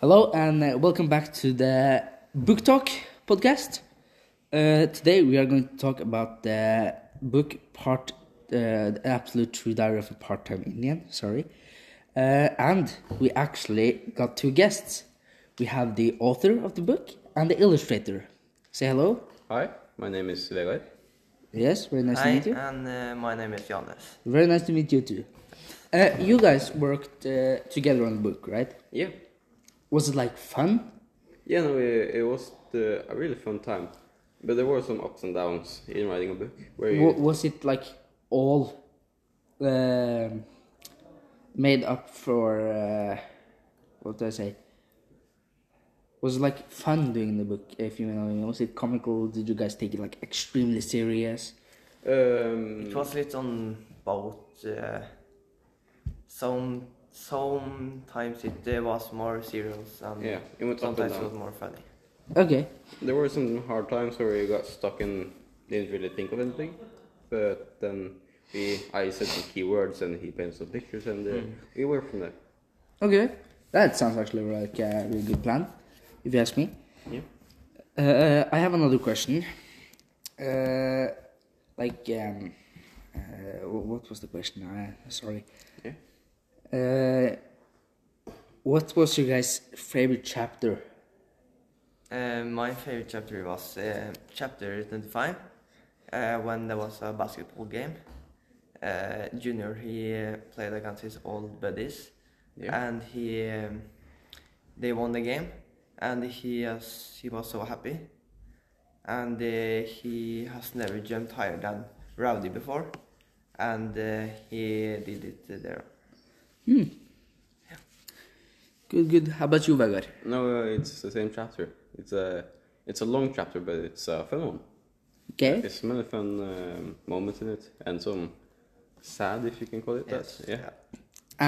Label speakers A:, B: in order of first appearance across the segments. A: Hello and uh, welcome back to the Book Talk podcast. Uh, today we are going to talk about the book part, uh, the absolute true diary of a part-time Indian. Sorry, uh, and we actually got two guests. We have the author of the book and the illustrator. Say hello.
B: Hi, my name is Vegard.
A: Yes, very nice to
C: Hi,
A: meet you.
C: and uh, my name is Johannes.
A: Very nice to meet you too. Uh, you guys worked uh, together on the book, right?
B: Yeah,
A: Was it like fun?
B: yeah, no, it, it was the, a really fun time, but there were some ups and downs in writing a book. Where you,
A: Wa- was it like all um made up for uh, what do I say? Was it like fun doing the book? If you know, what I mean? was it comical? Did you guys take it like extremely serious?
B: um,
C: It was litt sånn both uh, some sometimes it uh, was more serious and
B: Yeah, it went up and
C: sometimes it
B: down.
C: was more funny.
A: Okay,
B: there were some hard times where you got stuck and didn't really think of anything, but then we, I said some keywords and he painted some pictures and uh,
C: Hmm.
B: we were from there.
A: okay, that sounds actually like uh, a really good plan, if you ask me.
B: Yeah.
A: Uh, I have another question. Uh, like, um, uh, wh- what was the question? Uh, sorry.
B: Yeah.
A: Uh, what was your guys' favorite chapter?
C: Uh, my favorite chapter was uh, chapter 25, uh, when there was a basketball game. Uh, Junior, he uh, played against his old buddies,
B: Yeah.
C: and he um, they won the game, and he has, he was so happy, and uh, he has never jumped higher than Rowdy before, and uh, he did it there.
A: Good, good. How about you, Vagar?
B: No, uh, it's the same chapter. It's a it's a long chapter, but it's a fun one.
A: Okay.
B: It's many fun um, moments in it and some sad, if you can call it
C: Yes,
B: that. yeah.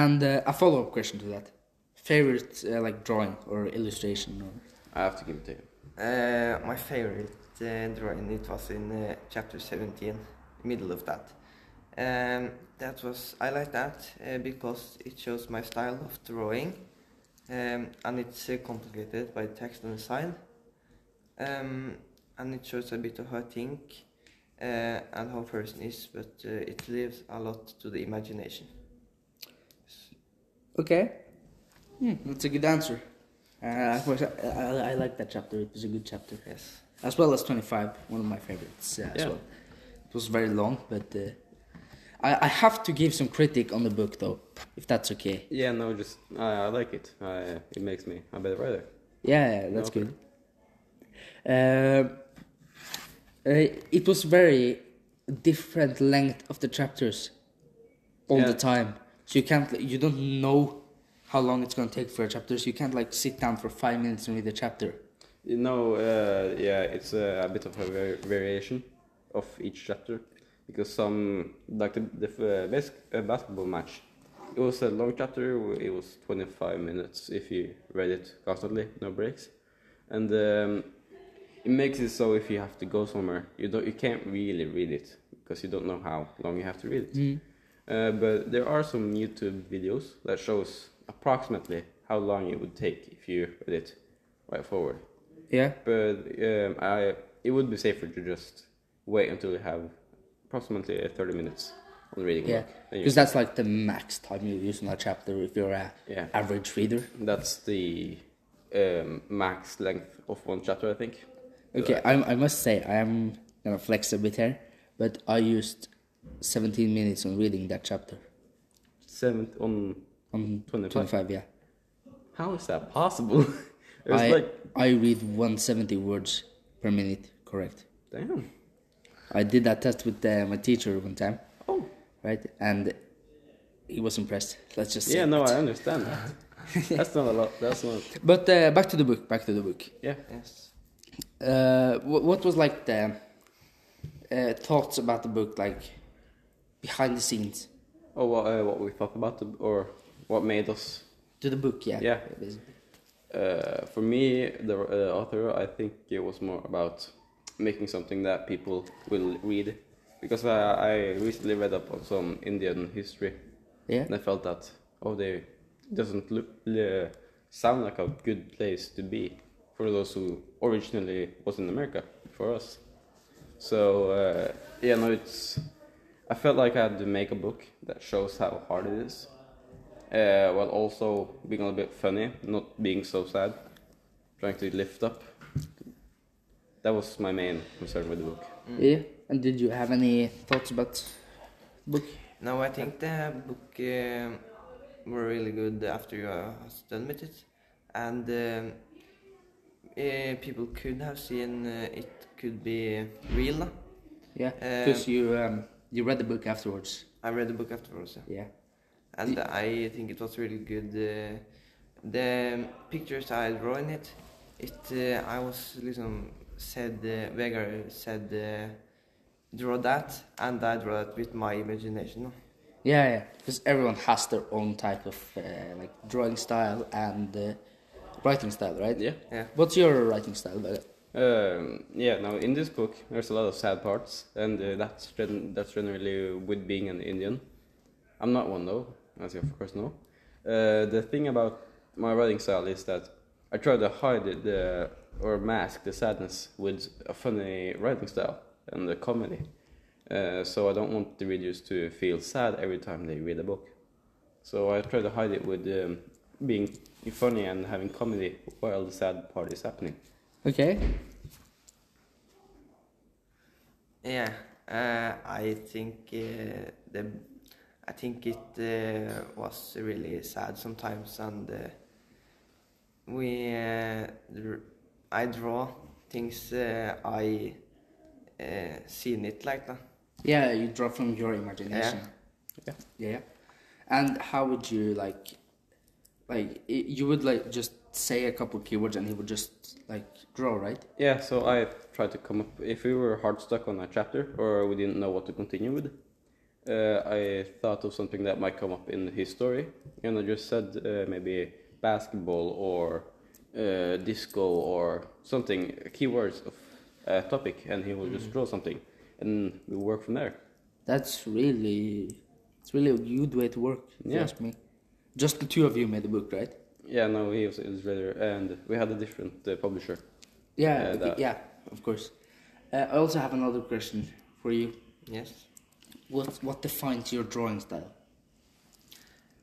A: And uh, a follow-up question to that: favorite uh, like drawing or illustration? Or...
B: I have to give it to him.
C: Uh, my favorite uh, drawing it was in uh, chapter 17 middle of that um, that was i like that uh, because it shows my style of drawing um, and it's uh, complicated by text and sign um, and it shows a bit of how i think uh, and how a person is but uh, it leaves a lot to the imagination
A: Okay. Hmm, that's a good answer. Uh, I, was- I, I- I like that chapter. It was a good chapter.
C: yes
A: as well as 25 one of my favorites uh, as
B: Yeah.
A: well it was very long but uh, I, I have to give some critic on the book though if that's okay
B: Yeah, no, just I I like it. I, it makes me a better writer.
A: yeah, yeah that's good Um uh, it was very different length of the chapters all the
B: Yeah.
A: time so you can't you don't know how long it's going to take for a chapter so you can't like sit down for five minutes and read a chapter
B: You know, uh, yeah, it's uh, a bit of a var- variation of each chapter because some like the, the uh, bas- uh, basketball match. It was a long chapter. It was twenty five minutes if you read it constantly, no breaks, and um, it makes it so if you have to go somewhere, you don't you can't really read it because you don't know how long you have to read it. Uh, but there are some YouTube videos that shows approximately how long it would take if you read it right forward.
A: yeah
B: But um, I, it would be safer to just wait until you have approximately 30 minutes on reading.
A: yeah
B: book. Then you-
A: because that's like the max time you use on a chapter if you're a
B: Yeah.
A: average reader
B: that's the um, max length of one chapter, I think.
A: Okay, I, I must say I am gonna flex a bit here, but I used 17 minutes on reading that chapter
B: Seventh on
A: on
B: 25.
A: 25. Yeah,
B: How is that possible? it was
A: I
B: like,
A: I read 170 words per minute. Correct.
B: damn.
A: I did that test with uh, my teacher one time,
B: Oh,
A: right? And he was impressed. Let's just say.
B: yeah, no,
A: that.
B: I understand that. that's not a lot. That's not.
A: But uh, back to the book. Back to the book.
B: Yeah.
C: yes
A: Uh, what, what was like the uh, thoughts about the book, like behind the scenes
B: Oh, what, uh, what we thought about, the, or what made us
A: to the book? Yeah.
B: Yeah.
A: basically.
B: Uh, for me, the uh, author, I think it was more about making something that people will read. Because I, I recently read up on some Indian history,
A: Yeah.
B: and I felt that oh, they doesn't look, uh, sound like a good place to be for those who originally was in America for us. So uh, yeah, no, it's. I felt like I had to make a book that shows how hard it is, uh, while also being a little bit funny, not being so sad, trying to lift up. That was my main concern with the book.
A: Yeah. And did you have any thoughts about book?
C: No, I think the book um, were really good after you are done with it, and um, eh, people could have seen uh, it could be real.
A: Yeah.
C: Um,
A: Because you um, you read the book afterwards.
C: I read the book afterwards, yeah.
A: Yeah.
C: and I think it was really good. Uh, the pictures I draw in it, it uh, I was liksom said uh, Vegard said uh, draw that, and I draw it with my imagination. no?
A: Yeah, yeah. Because everyone has their own type of uh, like drawing style and uh, writing style, right?
B: Yeah.
C: Yeah.
A: What's your writing style? Vegard?
B: Um, yeah, now in this book, there's a lot of sad parts, and uh, that's gen- that's generally with being an Indian. I'm not one though, as you of course know. Uh, the thing about my writing style is that I try to hide it, the or mask the sadness with a funny writing style and the comedy. Uh, so I don't want the readers to feel sad every time they read a book. So I try to hide it with um, being funny and having comedy while the sad part is happening.
A: Okay.
C: Yeah, uh, I think uh, the I think it uh, was really sad sometimes, and uh, we uh, dr- I draw things uh, I uh, seen it like that.
A: Yeah, you draw from your imagination.
B: Yeah.
A: Yeah. yeah. And how would you like, like i- you would like just say a couple keywords and he would just like draw, right?
B: Yeah, so I tried to come up. If we were hard stuck on a chapter or we didn't know what to continue with, uh, I thought of something that might come up in his story, and I just said uh, maybe basketball or uh, disco or something, keywords of a topic, and he will just draw something, and we work from there.
A: That's really, it's really a good way to work. If you
B: Yeah.
A: ask me. Just the two of you made the book, right?
B: Yeah, no, he was it was rather, and we had a different uh, publisher.
A: Yeah,
B: Yeah,
A: okay,
B: that-
A: yeah, of course. Uh, I also have another question for you.
C: Yes,
A: What what defines your drawing style?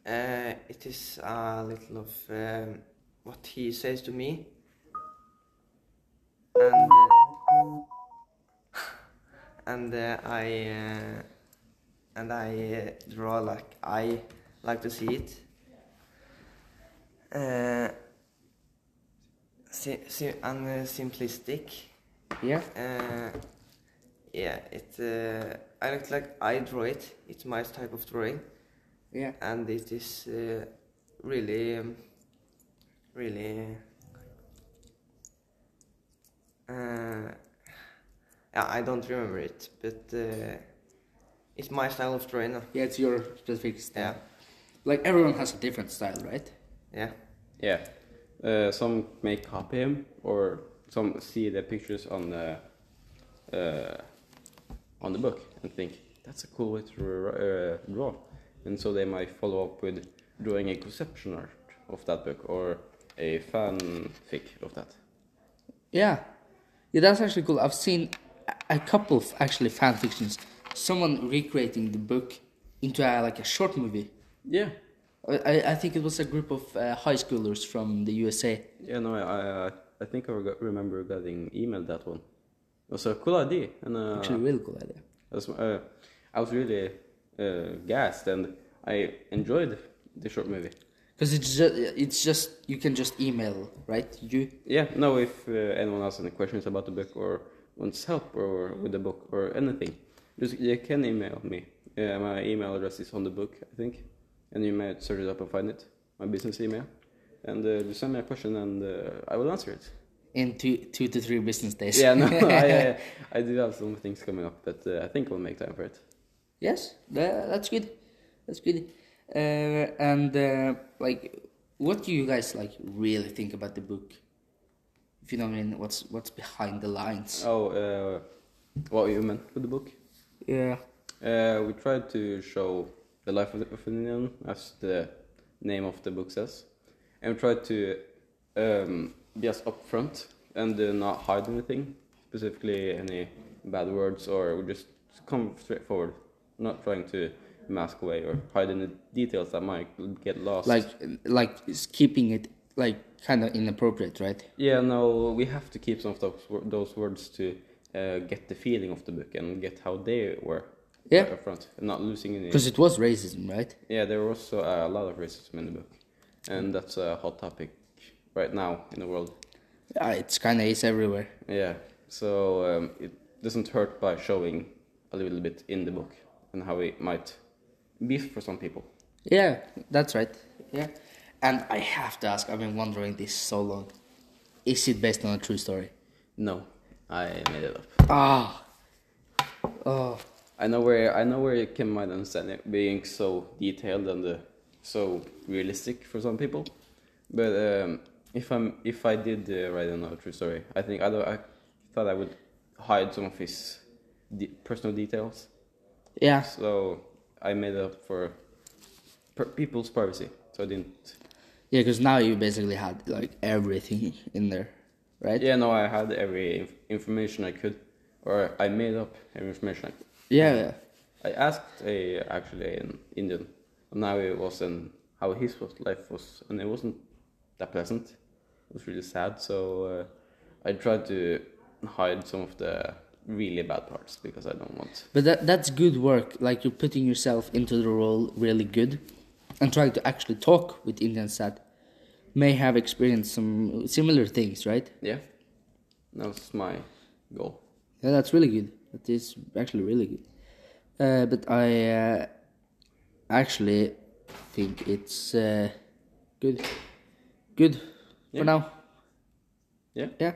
C: uh, it is a little of um, what he says to me, and uh, and uh, I uh, and I uh, draw like I like to see it. Uh, si- si- and uh, simplistic.
A: Yeah,
C: Uh, yeah, it. Uh, I like like I draw it. It's my type of drawing,
A: yeah,
C: and it is uh, really, um, really. Uh, yeah, I don't remember it, but uh, it's my style of drawing. uh,
A: yeah. It's your specific
C: Yeah,
A: style. Like everyone has a different style, right?
C: yeah,
B: Yeah. Uh, some may copy him, or some see the pictures on the uh, on the book and think that's a cool way to r- uh, draw, and so they might follow up with drawing a conception art of that book or a fanfic of that.
A: Yeah, yeah. That's actually cool. I've seen a- a couple of actually fan fictions. Someone recreating the book into a, like a short movie.
B: Yeah.
A: I, I- I think it was a group of uh, high schoolers from the USA.
B: Yeah. No, I I, I think I reg- remember getting emailed that one. It was a cool idea, and uh,
A: Actually, really cool idea.
B: That's, uh, I was really uh, gassed, and I enjoyed the short movie.
A: Because it's just, it's just you can just email, right? You
B: Yeah, no, if uh, anyone has any questions about the book or wants help or with the book or anything, just you can email me. Uh, my email address is on the book, I think, and you might search it up and find it. My business email, and uh, just send me a question, and uh, I will answer it.
A: in two two to three business days.
B: Yeah, no, I, uh, I do have some things coming up, but uh, I think we'll make time for it.
A: Yes, tha- that's good. That's good. Uh, and uh, like, what do you guys like really think about the book? If you know what I mean, what's what's behind the lines?
B: Oh, uh, what you meant with the book?
A: Yeah.
B: Uh, we tried to show the life of, the, of an Indian, as the name of the book says, and try to um, be as upfront and uh, not hide anything, specifically any bad words or just come straight forward, not trying to mask away or hide any details that might get lost.
A: Like like it's keeping it like kind of inappropriate, right?
B: Yeah, no, we have to keep some of those, wor- those words to uh, get the feeling of the book and get how they were
A: Yeah.
B: right up front and not losing any.
A: Because it was racism, right?
B: Yeah, there was also uh, a lot of racism in the book, and that's a hot topic right now in the world.
A: Yeah, it's kind of is everywhere.
B: Yeah, so um, it doesn't hurt by showing a little bit in the book and how it might be for some people.
A: Yeah, that's right. Yeah, and I have to ask. I've been wondering this so long. Is it based on a true story?
B: No, I made it up.
A: Ah, oh,
B: I know where I know where it came might understand it being so detailed and uh, so realistic for some people, but um, if I'm if I did uh, write another true story, I think I, don't, I thought I would hide some of his de- personal details,
A: yeah.
B: so I made up for per- people's privacy. So I didn't.
A: Yeah, because now you basically had like everything in there, right?
B: Yeah, no, I had every inf- information I could, or I made up every information I could.
A: Yeah, yeah.
B: I asked a actually an Indian and how it was and how his was, life was, and it wasn't that pleasant. It was really sad. So uh, I tried to hide some of the really bad parts because I don't want.
A: But that that's good work. Like you're putting yourself into the role really good, and trying to actually talk with Indians that may have experienced some similar things, right?
B: Yeah, that was my goal.
A: Yeah, that's really good. That is actually really good. Uh, but I uh, actually think it's uh, good. Good
B: Yeah.
A: for now.
B: Yeah.
A: Yeah.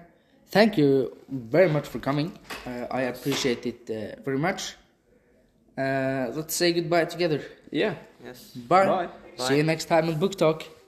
A: Thank you very much for coming. Uh, I appreciate it uh, very much. Uh, let's say goodbye together.
B: Yeah.
C: Yes.
A: Bye.
B: Bye.
A: See you next time on Book Talk.